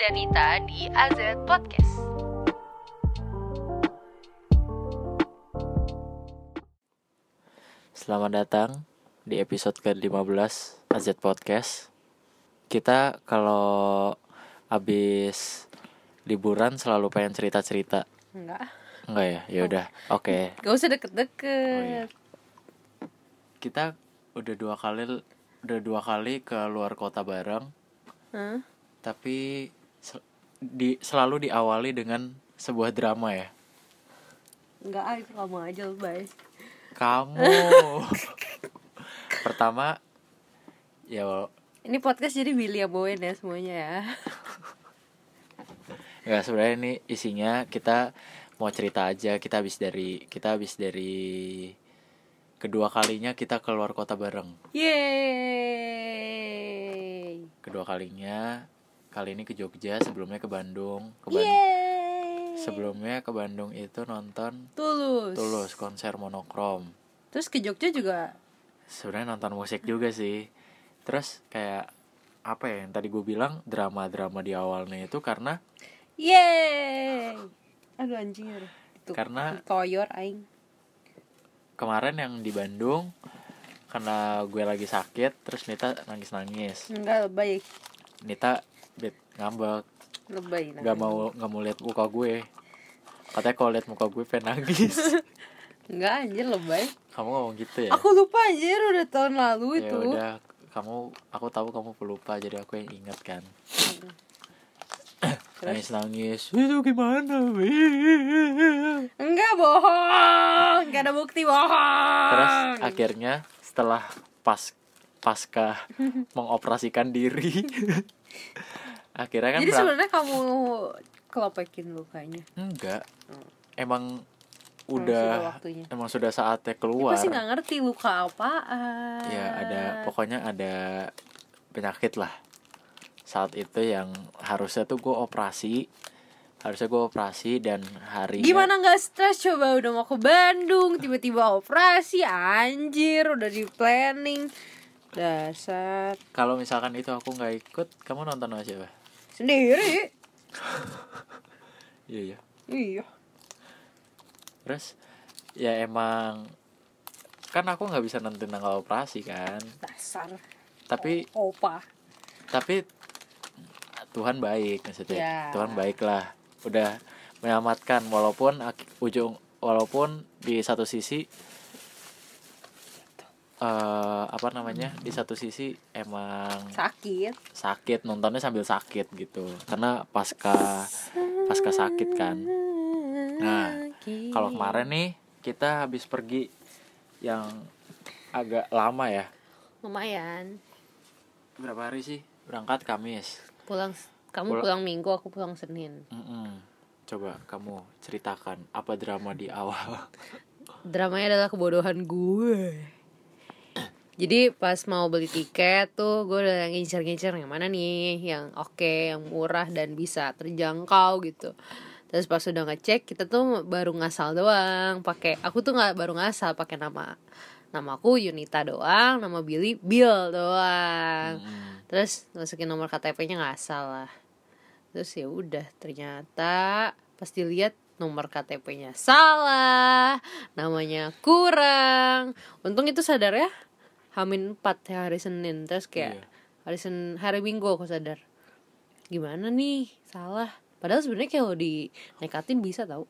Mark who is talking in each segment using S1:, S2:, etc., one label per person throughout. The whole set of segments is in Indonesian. S1: Danita di AZ Podcast.
S2: Selamat datang di episode ke-15 AZ Podcast. Kita kalau habis liburan selalu pengen cerita-cerita.
S1: Enggak,
S2: Enggak ya? Ya udah. Oke.
S1: gak usah
S2: Oh, iya.
S1: deket-deket.
S2: Kita udah dua kali udah dua kali ke luar kota bareng,
S1: Hah?
S2: tapi sel- di selalu diawali dengan sebuah drama ya.
S1: Enggak, ah, itu kamu aja lebay.
S2: Kamu. Pertama ya
S1: Ini podcast jadi William Bowen ya semuanya ya.
S2: Enggak Ya, sebenarnya ini isinya kita mau cerita aja kita habis dari kita habis dari kedua kalinya kita keluar kota bareng
S1: Yeay.
S2: kedua kalinya kali ini ke Jogja sebelumnya ke Bandung ke Ban-
S1: Yeay.
S2: sebelumnya ke Bandung itu nonton
S1: Tulus.
S2: Tulus konser monokrom
S1: Terus ke Jogja juga.
S2: sebenarnya nonton musik juga sih terus kayak apa ya yang tadi gue bilang drama-drama di awalnya itu karena
S1: Yeay. Aduh anjir. Itu
S2: Karena-
S1: toyor aing.
S2: kemarin yang di Bandung karena gue lagi sakit terus Nita nangis-nangis
S1: Enggak lebay,
S2: Nita bit ngambek
S1: lebay.
S2: nggak mau nggak mau lihat muka gue katanya kalau lihat muka gue pengen nangis
S1: Enggak anjir lebay.
S2: kamu ngomong gitu ya
S1: Aku gitu. lupa anjir udah tahun lalu
S2: ya
S1: itu.
S2: udah kamu aku tahu kamu pelupa jadi aku yang ingat kan nangis nangis itu gimana Wil?"
S1: Enggak bohong, gak ada bukti bohong.
S2: terus akhirnya setelah pas pasca mengoperasikan diri akhirnya kan
S1: Jadi
S2: berang-
S1: sebenarnya kamu kelopekin lukanya.
S2: enggak emang
S1: sudah
S2: udah
S1: waktunya.
S2: emang sudah saatnya
S1: Aku
S2: keluar
S1: sih nggak ngerti luka apaan.
S2: ya ada pokoknya ada penyakit lah saat itu yang harusnya tuh gue operasi harusnya gue operasi dan hari
S1: Gimana nggak stres coba udah mau ke Bandung tiba-tiba operasi anjir udah di planning dasar
S2: kalau misalkan itu aku nggak ikut kamu nonton sama siapa
S1: sendiri
S2: iya iya
S1: iya
S2: terus ya emang kan aku nggak bisa nentuin tanggal operasi kan
S1: dasar
S2: tapi
S1: opa
S2: tapi Tuhan baik maksudnya
S1: Ya.
S2: Tuhan baiklah udah menyelamatkan walaupun ak- ujung walaupun di satu sisi eh apa namanya di satu sisi emang
S1: sakit
S2: sakit nontonnya sambil sakit gitu karena pasca pasca sakit kan Nah,
S1: Sakit.
S2: kalau kemarin nih kita habis pergi yang agak lama ya
S1: lumayan
S2: berapa hari sih berangkat Kamis
S1: pulang kamu
S2: Pula-
S1: pulang minggu aku pulang senin
S2: Mm-mm. Coba kamu ceritakan apa drama di awal.
S1: dramanya adalah kebodohan gue jadi pas mau beli tiket tuh gue udah ngincer-ngincer yang mana nih yang oke yang murah dan bisa terjangkau gitu terus pas udah ngecek kita tuh baru ngasal doang pakai aku tuh nggak baru ngasal pakai nama nama aku Yunita doang nama Billy Bill doang terus masukin nomor KTP-nya nggak salah terus ya udah ternyata pas dilihat nomor KTP-nya salah namanya kurang untung itu sadar ya Hamin 4 ya, hari Senin terus kayak
S2: Iya.
S1: hari Sen hari Minggu aku sadar gimana nih salah padahal sebenarnya kalau dinekatin bisa tau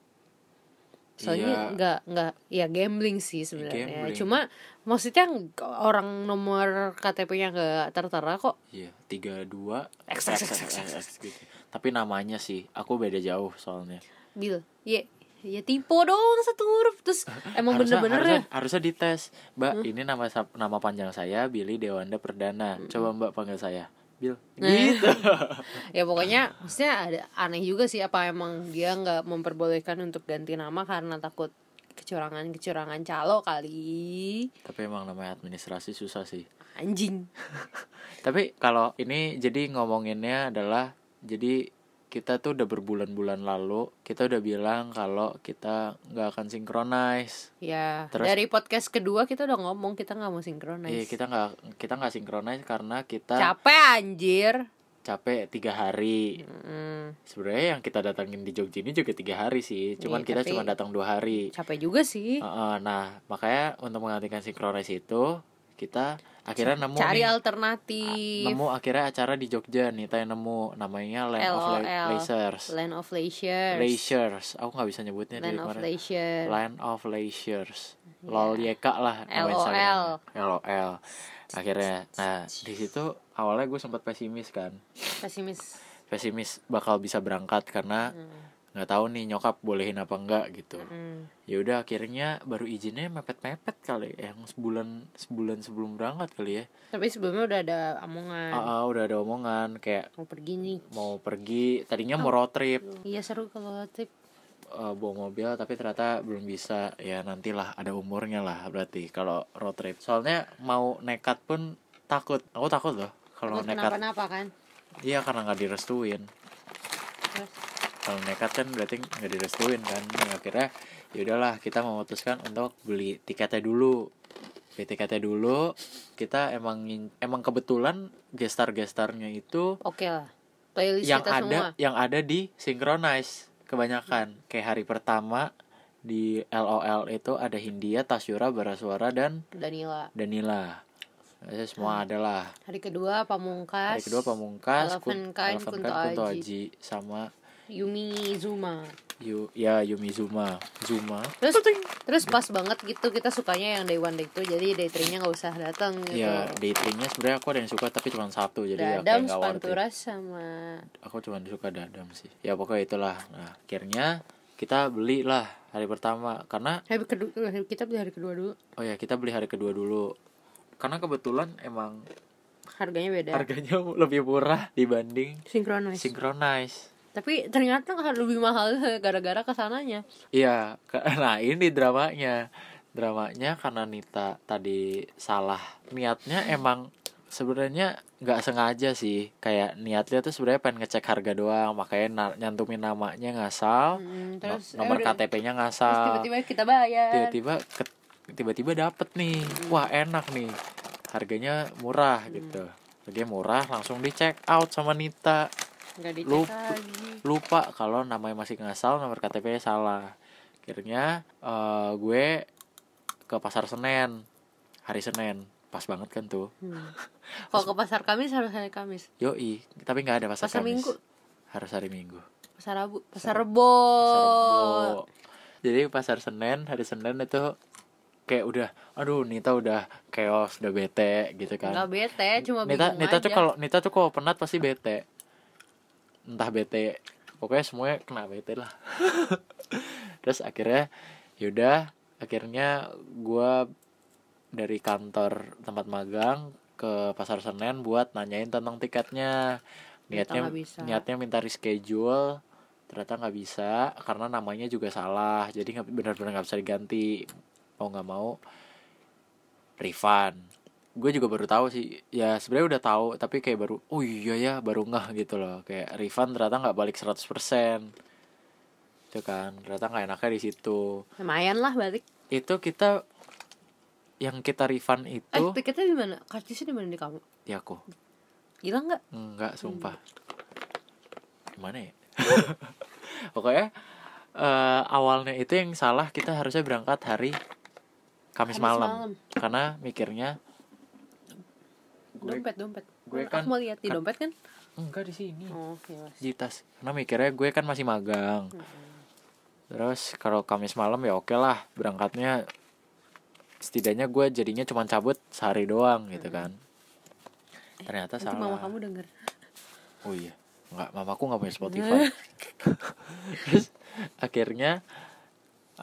S1: soalnya
S2: Iya.
S1: nggak nggak ya gambling sih sebenarnya
S2: Gambling.
S1: cuma maksudnya nggak- orang nomor KTP-nya nggak tertera kok
S2: Iya, tiga dua.
S1: X, X, X, X, X, X,
S2: gitu. Tapi namanya sih, aku beda jauh soalnya.
S1: Bil, ya ya tipe doang satu huruf terus emang
S2: harusnya,
S1: bener-bener
S2: harusnya,
S1: ya Hmm?
S2: harusnya dites, Mbak. Ini nama sap- nama panjang saya Billy Dewanda Perdana.
S1: Hmm.
S2: Coba Mbak panggil saya. Bill.
S1: Nah.
S2: Gitu.
S1: ya pokoknya maksudnya ada aneh juga sih apa emang dia nggak memperbolehkan untuk ganti nama karena takut kecurangan kecurangan calo kali
S2: Tapi emang namanya administrasi susah sih.
S1: anjing
S2: Tapi kalau ini jadi ngomonginnya adalah jadi kita tuh udah berbulan-bulan lalu kita udah bilang kalau kita nggak akan sinkronize.
S1: ya
S2: Terus-
S1: dari podcast kedua kita udah ngomong kita nggak mau
S2: Iya
S1: sinkronize
S2: kita nggak kita nggak sinkronize karena kita
S1: capek anjir
S2: capek, capek tiga hari
S1: Mm,
S2: sebenarnya yang kita datangin di Jogja ini juga tiga hari sih cuman
S1: Iya,
S2: kita
S1: tapi-
S2: cuma datang dua hari
S1: capek juga sih.
S2: Heeh, nah makanya untuk menggantikan sinkronize itu kita akhirnya nemu
S1: Cari
S2: nih.
S1: alternatif.
S2: Ah, nemu akhirnya acara di Jogja nih tanya nemu namanya Land of
S1: LOL.
S2: La- Lasers
S1: Land of Leisure.
S2: Leisures aku nggak bisa nyebutnya
S1: Land of
S2: dari
S1: Iya.
S2: kemarin
S1: Leisure.
S2: Land of Leisures lol YK lah namanya
S1: LOL.
S2: saringannya. LOL akhirnya nah di situ awalnya gue sempat pesimis kan
S1: Pesimis.
S2: pesimis bakal bisa berangkat karena
S1: Hmm.
S2: nggak tahu nih nyokap bolehin apa enggak gitu
S1: Mm.
S2: ya udah akhirnya baru izinnya mepet-mepet kali yang sebulan sebulan sebelum berangkat kali ya
S1: Tapi sebelumnya udah ada omongan.
S2: Ah, ah, udah ada omongan kayak
S1: Mau pergi nih.
S2: mau pergi tadinya mau road trip
S1: Iya seru kalau tip.
S2: eh, bawa mobil tapi ternyata belum bisa ya nantilah ada umurnya lah berarti kalau road trip soalnya mau nekat pun takut aku takut loh kalau
S1: Takut
S2: nekat
S1: kenapa-napa kan?
S2: iya karena nggak direstuin
S1: Terus
S2: kalau nekat kan berarti nggak direstuin kan Ya, akhirnya ya udahlah kita memutuskan untuk beli tiketnya dulu beli tiketnya dulu kita emang ngin- emang kebetulan gestar gestarnya itu
S1: oke lah. Playlist
S2: yang
S1: kita semua.
S2: ada yang ada di synchronize kebanyakan kayak hari pertama di LOL itu ada Hindia, Tasyura, Barasuara dan
S1: Danila.
S2: Danila. Itu
S1: Hmm.
S2: semua ada lah.
S1: Hari kedua Pamungkas.
S2: Hari kedua Pamungkas,
S1: Elephant Kind,
S2: Elephant
S1: Kunto
S2: Kind, Kunto
S1: Aji.
S2: Aji sama
S1: Yumi Zuma.
S2: Yu ya Yumi Zuma. Zuma.
S1: Terus terus pas banget gitu kita sukanya yang day one day two jadi day three nya nggak usah datang gitu.
S2: Ya datingnya sebenarnya aku ada yang suka tapi cuma satu jadi ya kayak
S1: Dadam
S2: nggak worth it.
S1: Panturas sama
S2: Aku cuma suka dadam sih. Ya pokoknya itulah. Nah akhirnya kita belilah hari pertama karena
S1: hari kedua hari- kita beli hari kedua dulu
S2: Oh ya kita beli hari kedua dulu Karena kebetulan emang
S1: harganya beda
S2: harganya lebih murah dibanding
S1: sinkronis
S2: Synchronize
S1: tapi ternyata kan lebih mahal gara-gara kesananya
S2: Iya, ke- nah ini dramanya Dramanya karena Nita tadi salah Niatnya emang sebenarnya nggak sengaja sih Kayak niatnya tuh sebenarnya pengen ngecek harga doang Makanya na- nyantumin namanya ngasal
S1: Mm,
S2: no-
S1: terus eh,
S2: Nomor
S1: udah.
S2: KTP-nya
S1: Terus
S2: ngasal
S1: tiba-tiba kita bayar
S2: tiba-tiba ke- tiba-tiba dapet nih wah enak nih harganya murah
S1: Hmm.
S2: gitu harganya murah langsung di check out sama Nita
S1: nggak dicek
S2: Lu-
S1: lagi
S2: lupa kalau namanya masih ngasal nomor KTP-nya salah akhirnya eh, gue ke pasar Senen hari Senin pas banget kan tuh
S1: Hmm. kalau ke pasar Kamis harus hari Kamis
S2: yoi tapi nggak ada pasar,
S1: Pasar
S2: Kamis.
S1: Minggu.
S2: harus hari Minggu
S1: pasar Rabu pasar Oh.
S2: Pasar
S1: Rebo
S2: Rebo. Jadi pasar Senen hari Senin itu kayak udah aduh Nita udah chaos udah bete gitu
S1: nggak
S2: kan.
S1: bete Iya, cuma
S2: Nita
S1: bingung
S2: Nita tuh
S1: aja.
S2: kalau Nita tuh kalau penat pasti bete. Entah bete pokoknya semuanya kena bete lah. Terus akhirnya ya yaudah akhirnya gua dari kantor tempat magang ke pasar Senen buat nanyain tentang tiketnya niatnya
S1: nggak bisa.
S2: niatnya minta reschedule ternyata nggak bisa karena namanya juga salah jadi nggak benar-benar nggak bisa diganti mau nggak mau refund gue juga baru tahu sih ya sebenarnya udah tahu tapi kayak baru oh iya ya baru ngeh gitu loh kayak refund ternyata nggak balik 100% itu kan ternyata nggak enaknya di situ
S1: lumayan lah balik
S2: itu kita yang kita refund
S1: eh
S2: itu
S1: tiketnya di mana kartisnya di mana di kamu
S2: ya aku
S1: hilang nggak
S2: enggak sumpah gimana ya pokoknya eh, awalnya itu yang salah kita harusnya berangkat hari Kamis,
S1: Kamis
S2: malam.
S1: malam.
S2: karena mikirnya Gue-
S1: dompet dompet
S2: gue
S1: Aku
S2: kan-
S1: mau lihat di
S2: kan- Hmm.
S1: dompet kan
S2: enggak di sini
S1: oh iya
S2: di tas karena mikirnya gue kan masih magang terus kalau Kamis malam ya oke lah berangkatnya setidaknya gue jadinya cuma cabut sehari doang gitu kan ternyata
S1: nanti
S2: salah
S1: mama kamu Nah. denger
S2: Oh iya, nggak mamaku nggak punya Spotify. Terus akhirnya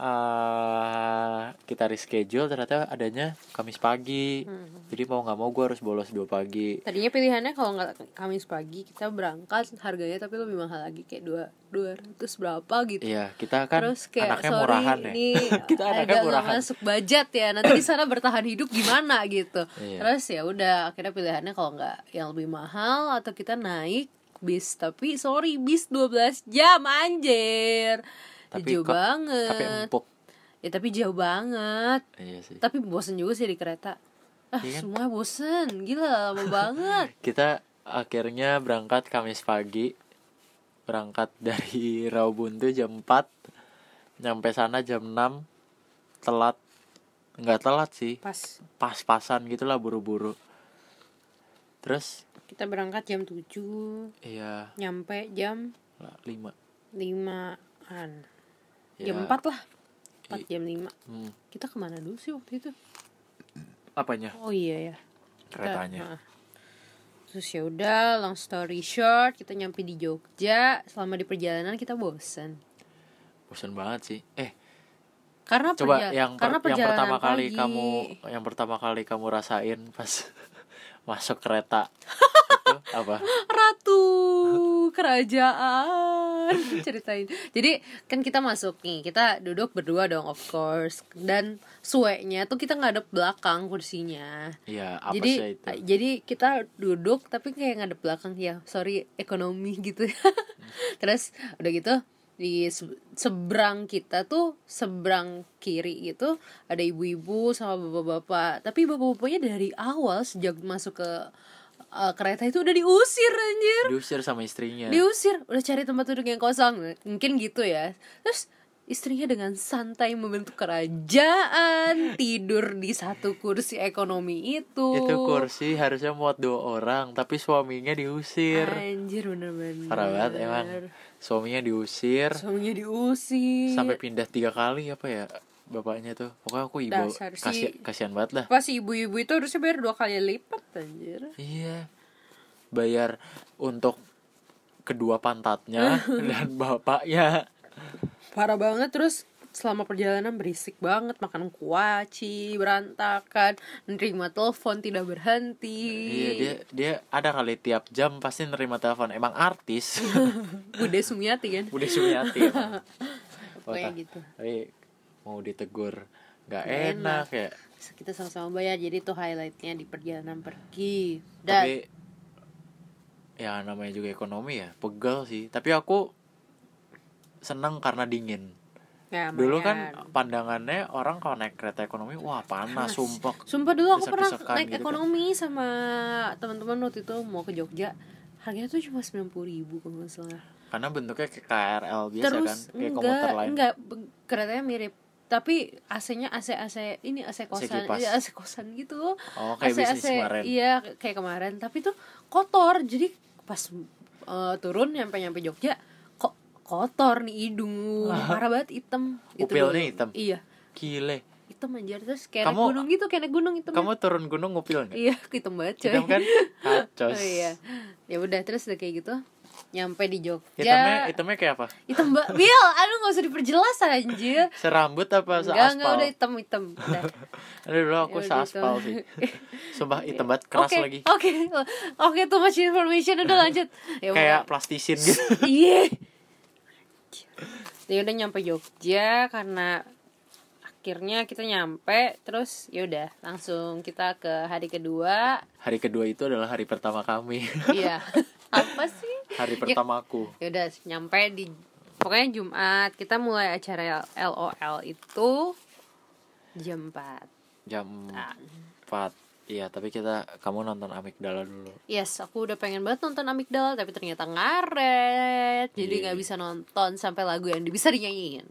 S2: eh kita reschedule ternyata adanya Kamis pagi. Jadi mau nggak mau gue harus bolos dua pagi.
S1: Tadinya pilihannya kalau nggak Kamis pagi kita berangkat harganya tapi lebih mahal lagi kayak dua dua ratus berapa gitu.
S2: Iya, kita kan
S1: Terus kayak
S2: anaknya
S1: sorry
S2: murahan ya.
S1: ini
S2: Kita anaknya
S1: agak nggak
S2: murahan.
S1: masuk budget ya nanti di sana bertahan hidup gimana gitu.
S2: Iya.
S1: Terus ya udah akhirnya pilihannya kalau nggak yang lebih mahal atau kita naik bis tapi sorry bis 12 jam anjir.
S2: Tapi
S1: jauh
S2: kok-
S1: banget.
S2: Tapi empuk.
S1: Ya tapi jauh banget.
S2: Iya sih.
S1: Tapi bosen juga sih di kereta. Ah,
S2: Iya kan?
S1: semua bosen. Gila lama banget.
S2: Kita akhirnya berangkat Kamis pagi berangkat dari Rawabuntu jam 4 nyampe sana jam 6 telat nggak telat sih
S1: Pas.
S2: pas-pasan gitulah buru-buru terus
S1: Kita berangkat jam 7,
S2: iya
S1: nyampe jam
S2: lah, lima
S1: 5-an.
S2: Ya,
S1: Jam 4 lah. 4
S2: I-
S1: jam 5.
S2: hmm,
S1: Kita kemana dulu sih waktu itu?
S2: apanya
S1: Oh iya ya. Kita-
S2: keretanya
S1: Heeh. Terus ya udah, long story short, kita nyampe di Jogja. Selama di perjalanan kita bosen.
S2: bosan banget sih eh
S1: Karena
S2: coba
S1: perja-
S2: yang per-
S1: karena
S2: yang
S1: perjalanan
S2: pertama kali
S1: pagi.
S2: kamu yang pertama kali kamu rasain pas masuk kereta itu apa
S1: ratu kerajaan ceritain jadi kan kita masuk nih kita duduk berdua dong of course dan sueknya tuh kita ngadep belakang kursinya
S2: ya apa
S1: jadi
S2: sih itu
S1: jadi kita duduk tapi kayak ngadep belakang ya sorry ekonomi gitu terus udah gitu di se- seberang kita tuh seberang kiri gitu ada ibu-ibu sama bapak-bapak tapi bapak-bapaknya dari awal sejak masuk ke eh, kereta itu udah diusir anjir
S2: diusir sama istrinya
S1: diusir udah cari tempat duduk yang kosong mungkin gitu ya terus istrinya dengan santai membentuk kerajaan tidur di satu kursi ekonomi itu
S2: itu kursi harusnya muat dua orang tapi suaminya diusir
S1: anjir bener-bener
S2: parah banget emang suaminya diusir
S1: suaminya diusir
S2: sampai pindah tiga kali apa ya bapaknya tuh pokoknya aku ibu
S1: Dasar sih.
S2: kasihan kasihan banget lah
S1: pas ibu-ibu itu harusnya bayar dua kali lipat anjir
S2: Iya. Bayar untuk kedua pantatnya dan bapaknya.
S1: parah banget terus selama perjalanan berisik banget makan kuaci berantakan nerima telepon tidak berhenti
S2: Iya, dia dia ada kali tiap jam pasti nerima telepon. Emang artis.
S1: Bude Sumiati kan
S2: Udah Sumiati. emang.
S1: Pokoknya
S2: Otak.
S1: gitu
S2: Tapi mau ditegur nggak
S1: Nggak
S2: enak, ya.
S1: Terus kita sama-sama bayar jadi itu highlightnya di perjalanan pergi
S2: Tapi
S1: dan
S2: ya namanya juga ekonomi ya, pegel sih. Tapi aku senang karena dingin.
S1: ya, lumayan.
S2: Dulu kan pandangannya orang kalau naik kereta ekonomi, wah panas, sumpek.
S1: sumpah dulu aku pernah
S2: desek-desekan
S1: naik
S2: gitu kan.
S1: ekonomi sama teman-teman waktu itu mau ke Jogja harganya tuh cuma sembilan puluh ribu kalau nggak salah
S2: Karena bentuknya kayak KRL biasa kan,
S1: terus
S2: kayak
S1: enggak
S2: komuter lain.
S1: enggak be- keretanya mirip tapi AC-nya AC AC ini AC kosan
S2: kipas.
S1: iya AC kosan gitu
S2: Oh, kayak bisnis kemarin.
S1: iya kayak kemarin tapi tuh kotor jadi pas eh, turun nyampe nyampe Jogja kok kotor nih hidung parah banget hitam Itu
S2: Upilnya
S1: dulu.
S2: hitam?
S1: iya
S2: Gile.
S1: hitam anjir terus kayak naik
S2: Kamu-
S1: gunung gitu kayak naik gunung hitam
S2: Kamu turun gunung ngupil enggak?
S1: iya hitam banget coy
S2: Hitam kan? Kacos.
S1: oh, iya ya udah terus udah kayak gitu nyampe di Jogja
S2: Hitamnya, hitamnya kayak apa?
S1: hitam mbak Bill aduh nggak usah diperjelas anjir
S2: Serambut apa
S1: enggak enggak
S2: seaspal?
S1: udah hitam hitam Udah.
S2: Aduh, dulu aku
S1: Ya udah
S2: seaspal
S1: gitu.
S2: sih. Sumpah hitam banget, keras
S1: Oke,
S2: lagi.
S1: oke oke tuh much information udah lanjut ya
S2: Kayak plastisin gitu.
S1: pokoknya- iya ya udah nyampe Jogja karena akhirnya kita nyampe terus ya udah langsung kita ke hari kedua
S2: Hari kedua itu adalah hari pertama kami.
S1: iya apa sih
S2: hari pertamaku.
S1: ya udah nyampe di pokoknya Jumat kita mulai acara LOL itu jam 4
S2: Jam
S1: Nah.
S2: 4. Iya, tapi kita kamu nonton Amigdala dulu.
S1: Yes, aku udah pengen banget nonton Amigdala tapi ternyata ngaret. Jadi
S2: Iya.
S1: nggak bisa nonton sampai lagu yang bisa dinyanyiin.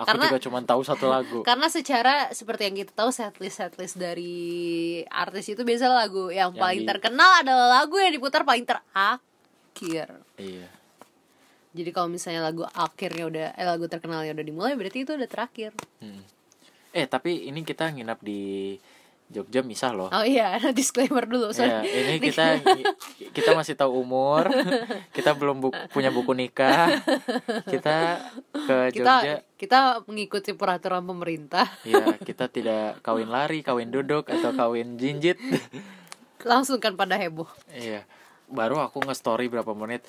S2: Aku
S1: Karena-
S2: juga cuma tahu satu lagu.
S1: Karena secara seperti yang kita tahu setlist setlist dari artis itu biasa lagu yang,
S2: Yang
S1: paling
S2: di-
S1: terkenal adalah lagu yang diputar paling terakhir.
S2: iya.
S1: Jadi kalau misalnya lagu akhirnya udah eh, lagu terkenalnya udah dimulai berarti itu udah terakhir.
S2: Mm. Eh, tapi ini kita nginap di Jogja misah loh.
S1: Oh iya, disclaimer dulu.
S2: Ya,
S1: Sorry.
S2: ini kita kita masih tahu umur, kita belum bu- punya buku nikah, kita ke Jogja,
S1: Kita kita mengikuti peraturan pemerintah.
S2: ya kita tidak kawin lari, kawin duduk atau kawin jinjit,
S1: Langsung kan pada heboh.
S2: iya. Baru aku nge-story berapa menit,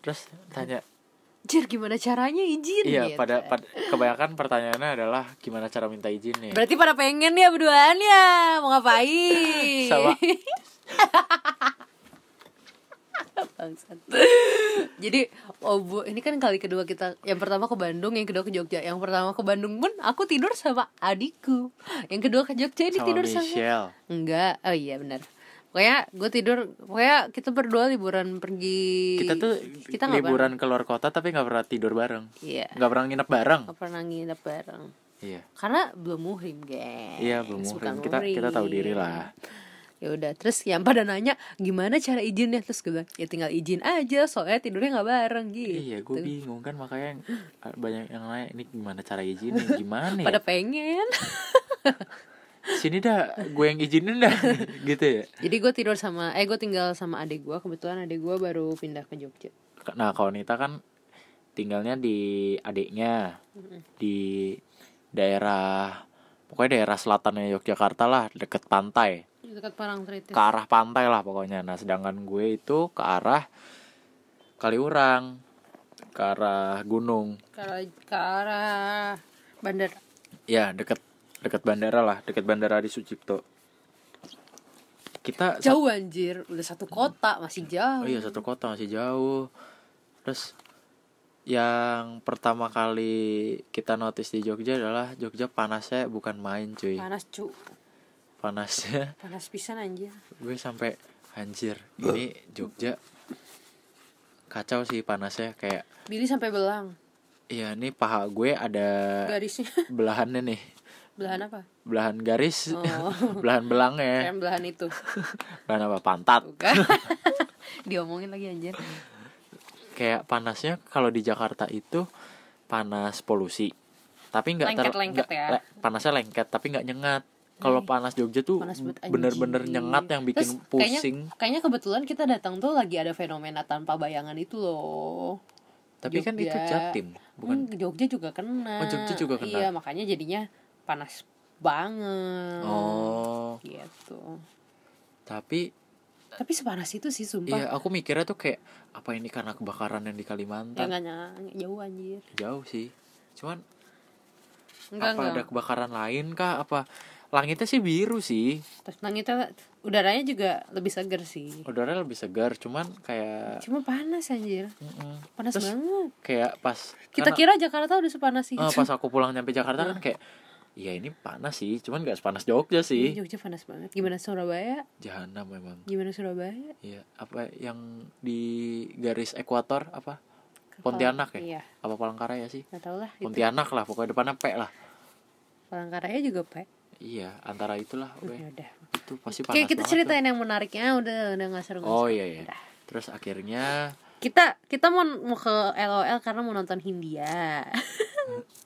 S2: terus tanya,
S1: Jir gimana caranya izin
S2: iya
S1: gitu.
S2: pada, pada kebanyakan pertanyaannya adalah gimana cara minta izinnya.
S1: Berarti pada pengen ya berduaan ya Mau ngapain
S2: Sama.
S1: Bangsat. Jadi oh bu, ini kan kali kedua kita Yang pertama ke Bandung, yang kedua ke Jogja Yang pertama ke Bandung pun aku tidur sama adikku Yang kedua ke Jogja ini
S2: Sama
S1: tidur sama
S2: Michelle,
S1: Enggak, oh iya benar Pokoknya gue tidur Pokoknya kita berdua liburan pergi
S2: kita tuh
S1: Kita nggak pernah-
S2: liburan keluar kota tapi nggak pernah tidur bareng
S1: Iya
S2: nggak pernah nginep bareng
S1: Gak pernah nginep bareng
S2: iya
S1: Karena belum muhrim guys
S2: iya belum
S1: Bukan
S2: muhrim kita kita tahu diri lah
S1: ya udah terus yang pada nanya gimana cara izinnya terus gue bilang ya tinggal izin aja soalnya tidurnya nggak bareng gitu
S2: iya gue bingung kan makanya yang, banyak yang lain ini gimana cara izin gimana ya
S1: pada pengen
S2: sini dah gue yang izinin dah gitu ya
S1: jadi gue tidur sama eh gue tinggal sama adik gue kebetulan adik gue baru pindah ke Jogja
S2: nah kalau Nita kan tinggalnya di adiknya di daerah pokoknya daerah selatannya Yogyakarta lah deket pantai
S1: dekat Parangtritis
S2: ke arah pantai lah pokoknya nah sedangkan gue itu ke arah Kaliurang ke arah gunung
S1: ke arah bandar
S2: ya deket deket bandara lah deket bandara di Sucipto kita
S1: jauh anjir udah satu kota masih jauh
S2: Oh iya satu kota masih jauh. Terus yang pertama kali kita notice di Jogja adalah Jogja panasnya bukan main cuy.
S1: panas cu
S2: Panasnya
S1: panas pisan anjir
S2: gue sampai anjir. Ini Jogja kacau sih panasnya kayak
S1: Billy sampai belang
S2: iya ini paha gue ada
S1: garisnya
S2: belahannya nih.
S1: belahan apa
S2: Belahan garis,
S1: Oh.
S2: belahan belangnya.
S1: Keren belahan itu
S2: Belahan apa pantat.
S1: bukan diomongin lagi anjir
S2: kayak panasnya kalau di Jakarta itu panas polusi tapi nggak ter-
S1: Lengket-lengket
S2: nggak-
S1: ya.
S2: le- panasnya lengket tapi nggak nyengat kalau panas Jogja tuh
S1: Panas banget, anjing.
S2: bener-bener nyengat yang bikin
S1: Terus kayaknya-
S2: pusing
S1: Kayaknya, kebetulan kita datang tuh lagi ada fenomena tanpa bayangan itu loh.
S2: tapi kan itu
S1: Jogja.
S2: Jatim bukan
S1: Hmm, Jogja juga kena.
S2: Oh, Jogja juga kena.
S1: Iya, makanya jadinya panas banget.
S2: oh
S1: Gitu.
S2: tapi
S1: Tapi sepanas itu sih
S2: iya
S1: sumpah.
S2: aku mikirnya tuh kayak apa ini karena kebakaran yang di
S1: Ya
S2: Kalimantan
S1: nggak nggak jauh anjir.
S2: jauh sih cuman
S1: Enggak
S2: apa ada
S1: enggak.
S2: kebakaran lain kah apa langitnya sih biru sih
S1: Terus nangitnya udaranya juga lebih seger sih.
S2: udaranya lebih segar cuman kayak
S1: Cuma panas anjir.
S2: mm-mm.
S1: Panas
S2: Terus
S1: banget.
S2: kayak pas
S1: Kita
S2: kan-
S1: kira Jakarta udah sepanas itu. Iya.
S2: Eh, pas aku pulang nyampe Jakarta kan kayak ya ini panas sih cuman gak sepanas Jogja sih
S1: Iya, Jogja panas banget. Gimana Surabaya?
S2: jahanam memang
S1: Gimana Surabaya?
S2: iya apa yang di garis ekuator apa Pontianak ya
S1: Iya,
S2: apa Palangkaraya sih
S1: nggak tau lah. Itu.
S2: Pontianak lah pokoknya depannya P lah
S1: Palangkaraya juga pak.
S2: iya antara itulah oke
S1: Ya udah.
S2: itu pasti panas
S1: Oke kita
S2: banget
S1: ceritain yang menariknya Ah, udah udah nggak seru.
S2: tuh.
S1: nggak
S2: oh
S1: seru.
S2: iya iya
S1: Udah.
S2: terus akhirnya
S1: Kita kita mau mau ke LOL karena mau nonton Hindia.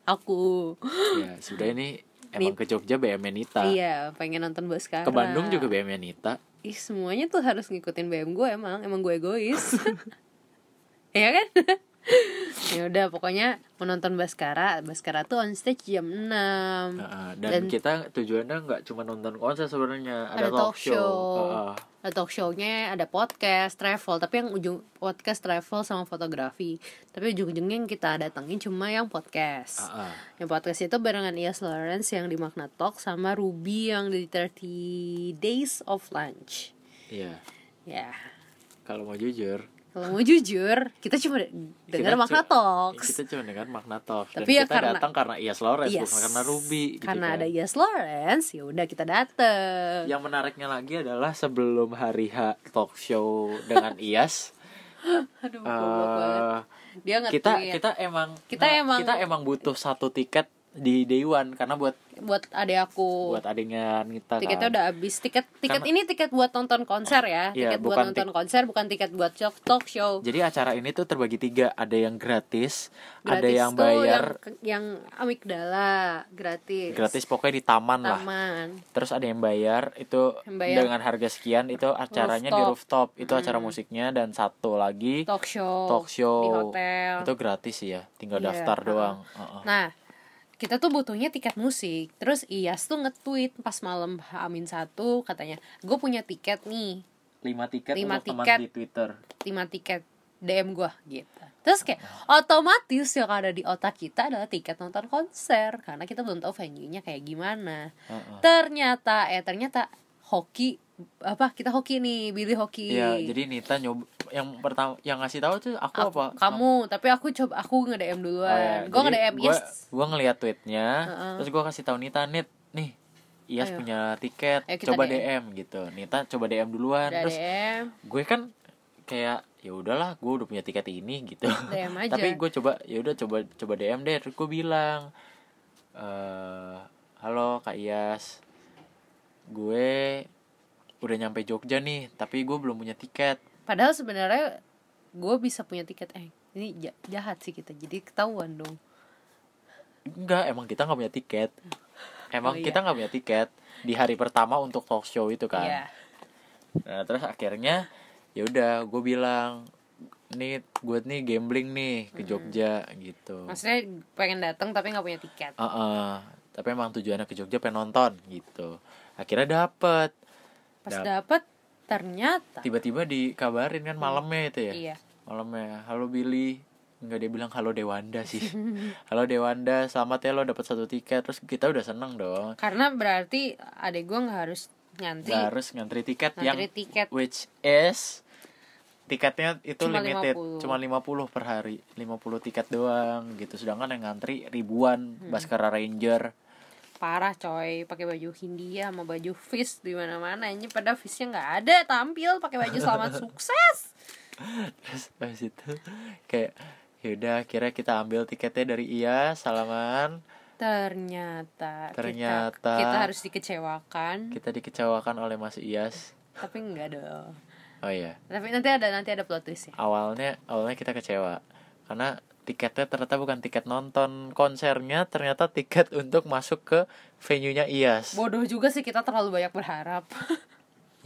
S1: Aku
S2: ya sudah ini emang ke Jogja BM Nita
S1: iya pengen nonton Baskara.
S2: ke Bandung juga BM Nita
S1: Ih semuanya tuh harus ngikutin BM gue emang emang gue egois. Iya kan? ya udah pokoknya menonton Baskara. Baskara tuh on stage jam 6.
S2: Heeh,
S1: Dan-
S2: dan, kita tujuannya nggak cuma nonton konser sebenarnya ada, talk show, Heeh.
S1: Ada talk show-nya, ada podcast, travel Tapi yang ujung podcast, travel, sama fotografi Tapi ujung-ujungnya yang kita datengin cuma yang podcast
S2: Heeh.
S1: Yang podcast itu barengan Ias Lawrence yang di Magna Talk Sama Ruby yang di 30 Days of Lunch
S2: Iya.
S1: Ya,
S2: Kalau mau jujur,
S1: kalau mau jujur, kita cuma dengar
S2: cu-
S1: Magna Talks
S2: Kita cuma dengar Magna Talks.
S1: Tapi
S2: Dan
S1: ya
S2: kita
S1: karena-
S2: datang karena Ias Lawrence,
S1: Yes.
S2: bukan karena Ruby. gitu
S1: Karena
S2: kan. Ya.
S1: ada Ias Lawrence, ya udah kita dateng
S2: Yang menariknya lagi adalah sebelum hari H talk show dengan Ias,
S1: Aduh,
S2: eh,
S1: goblok banget Dia nge
S2: kita kita emang nah,
S1: Kita emang-
S2: kita emang butuh satu tiket di Day One karena buat
S1: buat adek aku
S2: buat adiknya Nita
S1: tiketnya
S2: kan.
S1: udah habis tiket tiket ini tiket buat nonton konser ya
S2: Iya,
S1: tiket buat
S2: bukan
S1: nonton konser bukan tiket buat talk talk show
S2: Jadi acara ini tuh terbagi tiga, ada yang gratis, ada
S1: Gratis
S2: yang
S1: tuh
S2: bayar,
S1: yang, yang amigdala gratis
S2: gratis pokoknya di taman lah.
S1: taman
S2: terus ada yang bayar itu
S1: Yang bayar. Hmm.
S2: dengan harga sekian itu acaranya di rooftop itu acara musiknya dan satu lagi
S1: talk show
S2: talk show
S1: di hotel
S2: itu gratis sih ya tinggal
S1: Iya,
S2: daftar
S1: uh-uh.
S2: doang Uh-uh.
S1: nah kita tuh butuhnya tiket musik terus Iyas tuh nge-tweet pas malam Amin satu katanya gue punya tiket nih
S2: lima tiket
S1: Lima
S2: untuk
S1: tiket.
S2: teman di twitter
S1: lima tiket DM gua gitu terus kayak
S2: Oh.
S1: otomatis yang ada di otak kita adalah tiket nonton konser karena kita belum tahu venue nya kayak gimana
S2: Uh-uh.
S1: ternyata eh ternyata hoki apa kita hoki nih Billy hoki
S2: Iya, jadi Nita nyoba yang pertama yang ngasih tahu tuh
S1: Aku-
S2: aku, apa
S1: kamu tapi aku coba aku nge DM
S2: Oh, ya.
S1: duluan Gua gue nge
S2: Jadi
S1: DM
S2: gua,
S1: yes
S2: gua ngeliat tweetnya
S1: Uh-uh.
S2: terus gua kasih tahu Nita nit nih Iya
S1: Ayo.
S2: punya tiket,
S1: Ayo kita
S2: coba DM.
S1: DM.
S2: gitu. Nita coba DM duluan.
S1: Udah
S2: Terus
S1: DM
S2: gue kan kayak ya udahlah, gue udah punya tiket ini gitu.
S1: DM aja.
S2: Tapi gue coba ya udah coba coba DM deh. Terus gue bilang eh halo Kak Iyas. Gue udah nyampe Jogja nih, tapi gue belum punya tiket.
S1: Padahal sebenarnya gue bisa punya tiket eh ini ja- jahat sih kita jadi ketahuan dong.
S2: Enggak, emang kita nggak punya tiket.
S1: Oh,
S2: Emang
S1: iya.
S2: kita nggak punya tiket di hari pertama untuk talk show itu kan.
S1: Iya.
S2: Nah, terus akhirnya ya udah gue bilang nih gue nih gambling nih ke Jogja gitu.
S1: Maksudnya pengen datang tapi nggak punya tiket.
S2: Oh, Heeh. tapi emang tujuannya ke Jogja pengen nonton gitu. Akhirnya dapet.
S1: Pas
S2: Dap-
S1: dapet ternyata
S2: Tiba-tiba dikabarin kan malamnya itu ya.
S1: iya.
S2: Malamnya, halo Billy. Enggak dia bilang halo Dewanda sih. halo Dewanda, selamat ya lo dapet satu tiket. Terus kita udah seneng dong.
S1: Karena berarti adek gue nggak harus ngantri
S2: Nggak harus ngantri tiket yang
S1: ngantri tiket.
S2: which is tiketnya itu
S1: Cuma
S2: limited
S1: 50.
S2: cuma 50 per hari 50 tiket doang gitu sedangkan yang ngantri ribuan
S1: Hmm.
S2: Baskara Ranger
S1: parah coy pakai baju Hindia sama baju fish di mana mana ini pada fishnya nggak ada tampil pakai baju selamat sukses
S2: terus habis itu kayak yaudah akhirnya kita ambil tiketnya dari Iya salaman
S1: ternyata kita-
S2: Ternyata.
S1: kita, harus dikecewakan
S2: kita dikecewakan oleh Mas Iyas
S1: tapi nggak dong
S2: oh iya
S1: tapi nanti ada nanti ada plot twist ya
S2: awalnya awalnya kita kecewa karena tiketnya ternyata bukan tiket nonton konsernya ternyata tiket untuk masuk ke venue-nya Iyas
S1: bodoh juga sih kita terlalu banyak berharap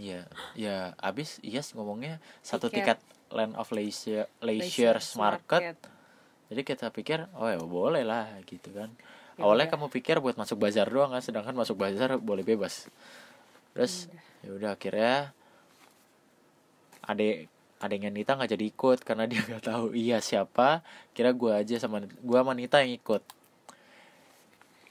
S2: Iya, ya abis Iyas ngomongnya satu tiket,
S1: Tiket.
S2: Land of Leisure Leisure Market. Jadi kita pikir, oh ya boleh lah gitu kan.
S1: Ya
S2: Awalnya
S1: udah.
S2: kamu pikir buat masuk bazar doang kan, sedangkan masuk bazar boleh bebas. Terus ya udah akhirnya adek adeknya Nita nggak jadi ikut karena dia nggak tahu iya siapa. Kira gua aja sama gua sama Nita yang ikut.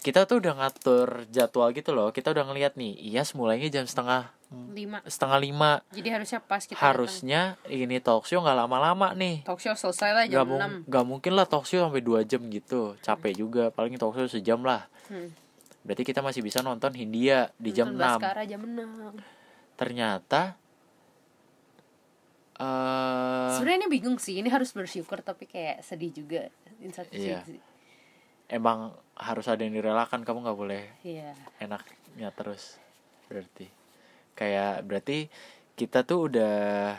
S2: Kita tuh udah ngatur jadwal gitu loh. Kita udah ngeliat nih, Iyas mulainya jam setengah
S1: lima
S2: setengah lima
S1: jadi harusnya pas kita
S2: harusnya ini talk show nggak lama-lama nih
S1: datang. talk show selesai lah
S2: nggak
S1: jam
S2: mung-
S1: enam
S2: nggak mungkin lah talk show sampai dua jam gitu capek juga paling talk show sejam lah
S1: Hmm.
S2: berarti kita masih bisa nonton Hindia di jam Eh.
S1: Nonton
S2: 6
S1: Baskara jam enam
S2: ternyata eh
S1: sebenarnya ini bingung sih ini harus bersyukur tapi kayak sedih juga in satu
S2: Iya.
S1: sisi.
S2: emang harus ada yang direlakan kamu nggak boleh
S1: Iya.
S2: enaknya terus berarti kayak berarti kita tuh udah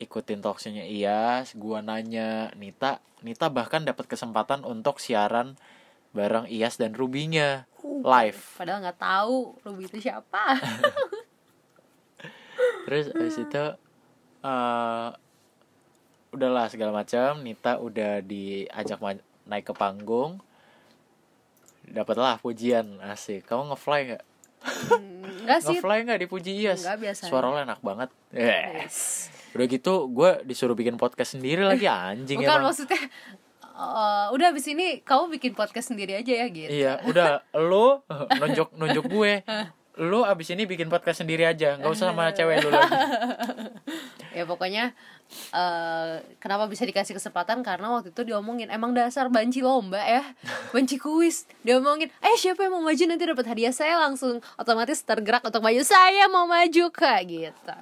S2: ikutin talkshow-nya Iyas, gua nanya Nita, Nita bahkan dapat kesempatan untuk siaran bareng Iyas dan Rubinya live.
S1: Padahal nggak tahu Ruby itu siapa.
S2: Terus habis itu eh udahlah segala macam, Nita udah diajak ma- naik ke panggung. Dapatlah pujian, asik. Kamu ngefly nggak?
S1: Enggak sih.
S2: Ngefly nggak dipuji Iyas?
S1: Enggak biasanya. Iya.
S2: Suara lo enak banget. Eh.
S1: Yes.
S2: Udah gitu gue disuruh bikin podcast sendiri lagi
S1: Eh,
S2: anjing
S1: Bukan
S2: emang.
S1: maksudnya eh, udah abis ini kamu bikin podcast sendiri aja ya gitu.
S2: Iya, udah lo eh, nunjuk nunjuk gue. Lo abis ini bikin podcast sendiri aja, nggak usah
S1: Eh.
S2: sama cewek lu lagi.
S1: Ya pokoknya eh, kenapa bisa dikasih kesempatan karena waktu itu diomongin emang dasar banci lomba ya, banci kuis. Diomongin, "Eh, siapa yang mau maju nanti dapat hadiah?" Saya langsung otomatis tergerak untuk maju. Saya mau maju, Kak, gitu.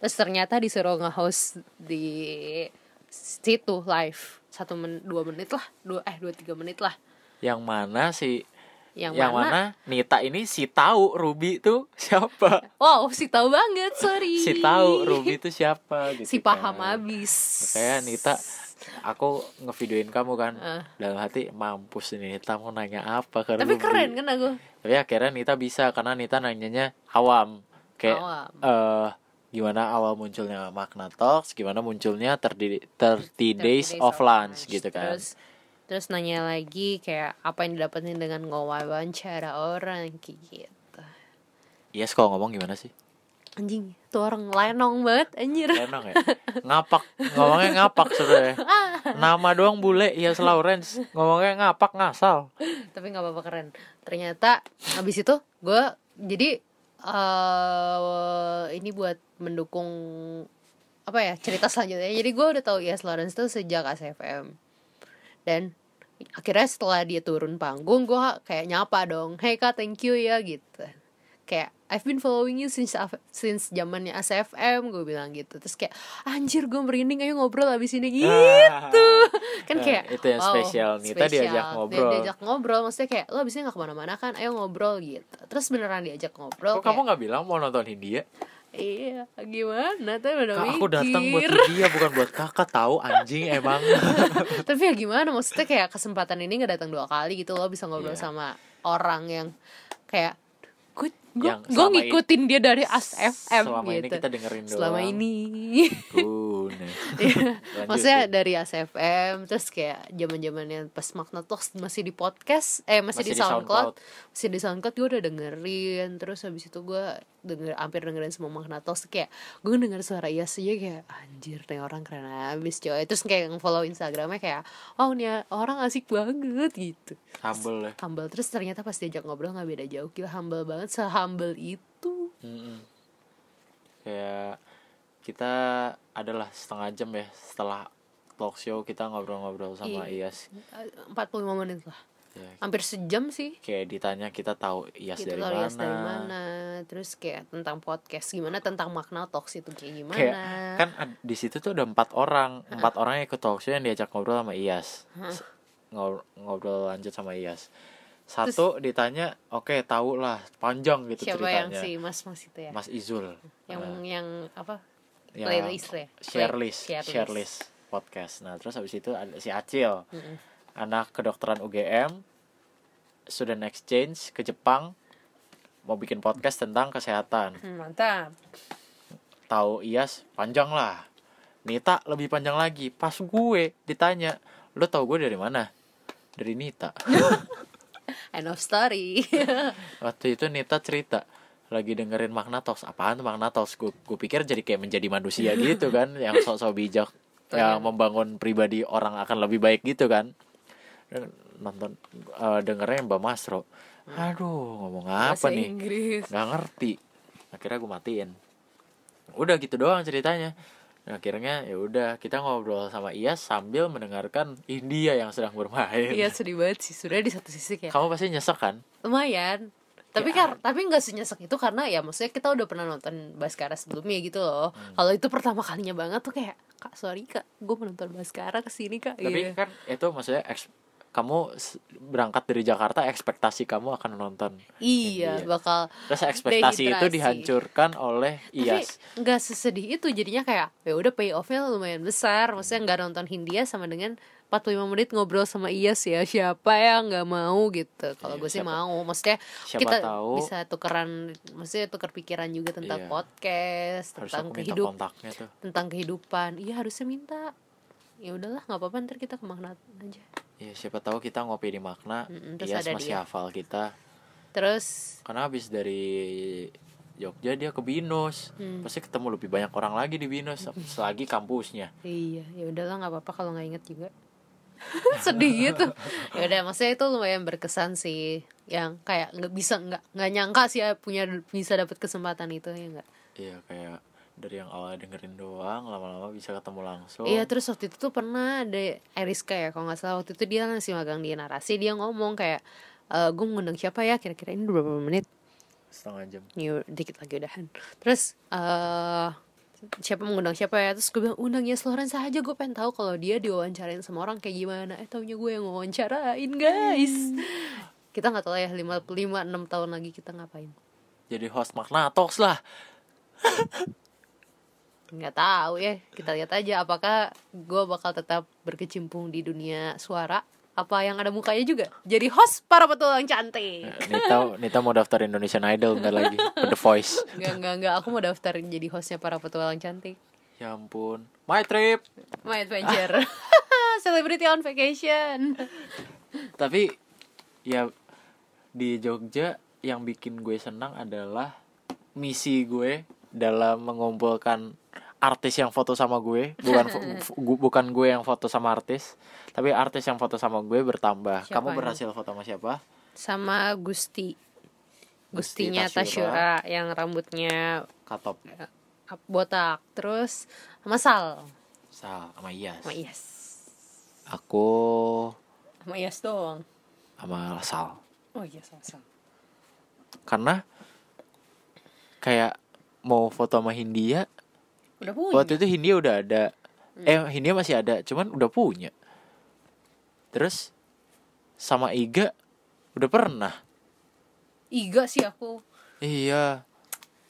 S1: Terus ternyata disuruh nge-host di situ live satu men dua menit lah dua eh dua tiga menit lah
S2: Yang mana sih?
S1: yang,
S2: Yang,
S1: mana?
S2: mana? Nita ini si tahu Ruby tuh siapa?
S1: wow si tahu banget sorry
S2: Si tahu Ruby tuh siapa gitu.
S1: si paham
S2: kan.
S1: abis
S2: Makanya Nita aku ngevideoin kamu kan
S1: Eh.
S2: dalam hati mampus ini Nita mau nanya apa ke
S1: tapi
S2: Ruby?"
S1: keren kan aku
S2: tapi akhirnya Nita bisa karena Nita nanyanya awam kayak
S1: Awam.
S2: eh, gimana awal munculnya makna talks gimana munculnya 30, 30 days of lunch gitu kan
S1: terus terus nanya lagi kayak apa yang didapetin dengan wawancara orang kayak gitu
S2: yes kalau ngomong gimana sih
S1: anjing tuh orang lenong banget anjir
S2: Lenong ya ngapak ngomongnya ngapak sebenarnya nama doang bule Yes Lawrence ngomongnya ngapak ngasal
S1: tapi nggak apa-apa keren ternyata habis itu gue jadi eh ini buat mendukung apa ya cerita selanjutnya jadi gue udah tahu Yes Lawrence tuh sejak ACFM dan akhirnya setelah dia turun panggung gue kayak nyapa dong hey kak thank you ya gitu kayak I've been following you since af- since zamannya ACFM gue bilang gitu terus kayak anjir gue merinding ayo ngobrol abis ini
S2: Ah,
S1: gitu kan
S2: Nah,
S1: kayak
S2: itu yang spesial. Nita diajak
S1: Dia-
S2: ngobrol.
S1: diajak ngobrol maksudnya kayak lo abisnya nggak kemana-mana kan ayo ngobrol gitu terus beneran diajak ngobrol
S2: Kok kamu
S1: kayak,
S2: nggak bilang mau nonton India?
S1: iya gimana tapi udah
S2: Kak, aku datang buat
S1: mikir.
S2: India bukan buat kakak tahu anjing emang.
S1: tapi ya gimana maksudnya kayak kesempatan ini nggak datang dua kali gitu lo bisa ngobrol
S2: Iya.
S1: sama orang yang kayak gue gue
S2: Yang
S1: gue
S2: selama i-
S1: ngikutin dia dari ASFM
S2: Selama
S1: gitu
S2: ini kita dengerin doang.
S1: selama ini
S2: Uh, nah. Lanjut,
S1: Iya. maksudnya
S2: Sid.
S1: dari ASFM terus kayak zaman zamannya pas Magna Talks masih di podcast eh masih, di, SoundCloud. masih di SoundCloud gue udah dengerin terus habis itu gue denger hampir dengerin semua Magna Talks kayak gue denger suara Ias aja kayak anjir nih orang keren abis coy terus kayak follow Instagramnya kayak oh nih orang asik banget gitu
S2: Humble ya.
S1: humble terus ternyata pas diajak ngobrol nggak beda jauh gila humble banget sehumble itu
S2: Mm-mm. Kayak kita adalah setengah jam ya setelah talk show kita ngobrol-ngobrol sama
S1: Iya.
S2: Iyas.
S1: Eh, 45 menit lah
S2: Ya,
S1: hampir sejam sih
S2: kayak ditanya kita tahu Iyas
S1: gitu
S2: dari,
S1: loh, Yas
S2: mana.
S1: dari mana terus kayak tentang podcast gimana tentang makna talks itu kayak gimana
S2: Kayak kan ad- di situ tuh ada empat orang, empat orang yang ikut talk show yang diajak ngobrol sama Iyas. S- ngobr- Ngobrol lanjut sama Iyas. Satu ditanya, oke tahu lah panjang gitu
S1: siapa yang
S2: ceritanya.
S1: si mas mas itu ya
S2: Mas Izul.
S1: yang
S2: Nah,
S1: yang apa
S2: ya,
S1: playlist ya
S2: share
S1: Play-
S2: list, share list podcast. Nah, terus habis itu ada si Acil, anak kedokteran UGM, student exchange ke Jepang, mau bikin podcast tentang kesehatan.
S1: Hmm, mantap
S2: Tahu Iyas panjang lah. Nita lebih panjang lagi. Pas gue ditanya, "Lo tahu gue dari mana?" Dari Nita.
S1: end of story
S2: Waktu itu Nita cerita lagi dengerin Magna Talks apaan tuh Magna Talks gue gue pikir jadi kayak menjadi manusia gitu kan yang sok-sok bijak yang membangun pribadi orang akan lebih baik gitu kan Dan nonton eh, dengernya Mbak Masro
S1: Hmm.
S2: aduh ngomong apa
S1: Bahasa
S2: nih
S1: Inggris
S2: nggak ngerti akhirnya gue matiin udah gitu doang ceritanya Nah, akhirnya ya udah kita ngobrol sama Iyas sambil mendengarkan India yang sedang bermain
S1: iya sedih banget sih sudah di satu sisi kayak
S2: kamu pasti nyesek kan
S1: lumayan tapi kar
S2: Iya.
S1: tapi nggak senyesek itu karena ya maksudnya kita udah pernah nonton Baskara sebelumnya gitu loh
S2: Hmm.
S1: kalau itu pertama kalinya banget tuh kayak kak sorry kak gue menonton Baskara kesini kak
S2: Tapi
S1: Gitu.
S2: kan itu maksudnya eks- kamu s- berangkat dari Jakarta ekspektasi kamu akan nonton.
S1: iya
S2: Iya.
S1: bakal
S2: Terus ekspektasi itu
S1: Dehidrasi.
S2: dihancurkan oleh iya,
S1: tapi
S2: IAS.
S1: nggak sesedih itu jadinya kayak ya udah pay offnya lumayan besar maksudnya nggak nonton Hindia sama dengan 45 menit ngobrol sama Iyas ya siapa yang nggak mau gitu kalau
S2: Iya,
S1: gue sih
S2: siapa-
S1: mau maksudnya
S2: siapa
S1: kita
S2: tahu.
S1: bisa tukeran maksudnya tuker pikiran juga tentang
S2: Iya.
S1: podcast
S2: Harus
S1: tentang
S2: aku minta
S1: kehidup
S2: kontaknya tuh.
S1: tentang kehidupan iya harusnya minta ya udahlah nggak apa-apa ntar kita ke Magna aja
S2: Ya siapa tahu kita ngopi di makna,
S1: Mm-mm, terus
S2: IAS
S1: ada
S2: masih
S1: dia.
S2: hafal kita.
S1: terus
S2: Karena habis dari Jogja dia ke Binus.
S1: Hmm.
S2: Pasti ketemu lebih banyak orang lagi di Binus selagi kampusnya.
S1: iya ya udahlah nggak apa-apa kalau nggak inget juga sedih gitu ya udah maksudnya itu lumayan berkesan sih yang kayak nggak bisa nggak nggak nyangka sih ya punya bisa dapet kesempatan itu ya nggak
S2: Iya kayak dari yang awal dengerin doang lama-lama bisa ketemu langsung.
S1: Iya terus waktu itu tuh pernah ada Eriska ya kalau nggak salah waktu itu dia masih magang di narasi dia ngomong kayak "Eh, gue mengundang siapa ya kira-kira ini berapa menit
S2: Setengah jam.
S1: New, dikit lagi udahan terus eh siapa mengundang siapa ya terus gue bilang undang Yes Lawrence aja gue pengen tahu kalau dia diwawancarain sama orang kayak gimana eh taunya gue yang wawancarain guys kita nggak tahu lah ya lima lima enam tahun lagi kita ngapain
S2: Jadi host Magna Talks lah.
S1: nggak tahu ya kita lihat aja apakah gue bakal tetap berkecimpung di dunia suara apa yang ada mukanya juga jadi host para petualang cantik
S2: Eh. Nita, Nita mau daftar Indonesian Idol bentar lagi ke The Voice.
S1: nggak nggak nggak aku mau daftar jadi hostnya para petualang cantik
S2: Ya ampun. My trip.
S1: My Adventure Celebrity on Vacation
S2: Tapi ya di Jogja yang bikin gue senang adalah misi gue dalam mengumpulkan artis yang foto sama gue, bukan fo- fo- gu- bukan gue yang foto sama artis, tapi artis yang foto sama gue bertambah.
S1: Siapa
S2: Kamu
S1: yang-
S2: berhasil foto sama siapa?
S1: Sama Gusti
S2: Gusti
S1: Gustinya
S2: Tasyura.
S1: Tasyura yang rambutnya
S2: Katop,
S1: eh, botak Terus sama Sal
S2: Sal, sama Iyas.
S1: Sama Iyas
S2: Aku
S1: Sama Iyas doang
S2: sama Sal.
S1: Oh iya sama Sal
S2: karena kayak mau foto sama Hindia
S1: udah punya
S2: waktu itu Hindia udah ada
S1: Hmm.
S2: eh Hindia masih ada cuman udah punya terus sama Iga udah pernah
S1: iga sih aku
S2: iya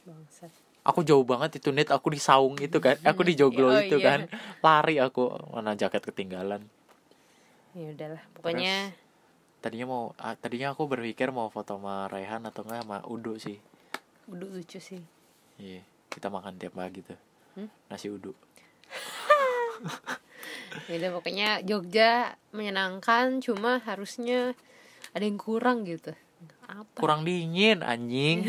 S1: bangsat
S2: aku jauh banget itu net aku di saung itu kan aku di joglo
S1: Oh,
S2: itu
S1: iya.
S2: kan lari aku mana jaket ketinggalan
S1: ya udahlah pokoknya
S2: tadinya mau ah, tadinya aku berpikir mau foto sama Raihan atau enggak sama Udo sih
S1: udah lucu sih
S2: iya kita makan tiap pagi tuh
S1: Hmm?
S2: nasi uduk
S1: ya udah pokoknya Jogja menyenangkan cuma harusnya ada yang kurang gitu apa
S2: kurang dingin anjing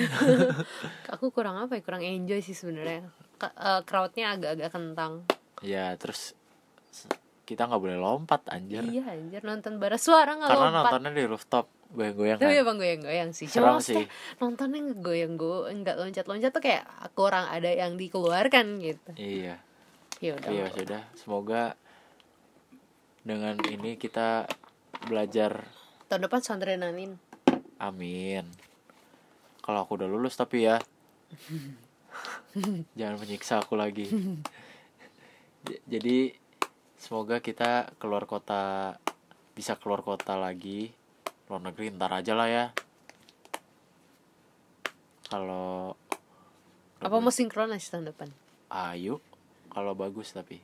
S1: aku kurang apa ya kurang enjoy sih sebenarnya Ke- eh, crowdnya agak-agak kentang
S2: ya terus s- kita nggak boleh lompat anjir
S1: iya anjir nonton bara suara nggak
S2: karena
S1: lompat Iya,
S2: nontonnya di rooftop goyang-goyang
S1: tapi
S2: kan
S1: emang goyang-goyang sih
S2: Serem
S1: Cuma maksudnya
S2: sih.
S1: nontonnya ngegoyang gue nggak loncat-loncat tuh kayak kurang ada yang dikeluarkan gitu
S2: iya
S1: ya udah
S2: iya sudah semoga dengan ini kita belajar
S1: tahun depan santrenanin
S2: amin kalau aku udah lulus tapi ya jangan menyiksa aku lagi J- jadi semoga kita keluar kota bisa keluar kota lagi luar negeri ntar aja lah ya kalau
S1: apa mau sinkronis tahun depan
S2: Ayo, kalau bagus tapi.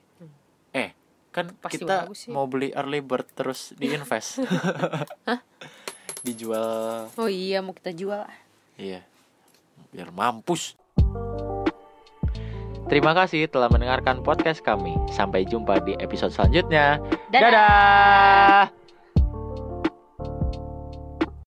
S2: Eh, kan
S1: Hmm. Pasti
S2: kita
S1: bagus sih.
S2: mau beli early bird terus diinvest. Dijual.
S1: oh iya mau kita jual
S2: Iya. Biar mampus. Terima kasih telah mendengarkan podcast kami. Sampai jumpa di episode selanjutnya.
S1: Dadah!
S2: Dadah!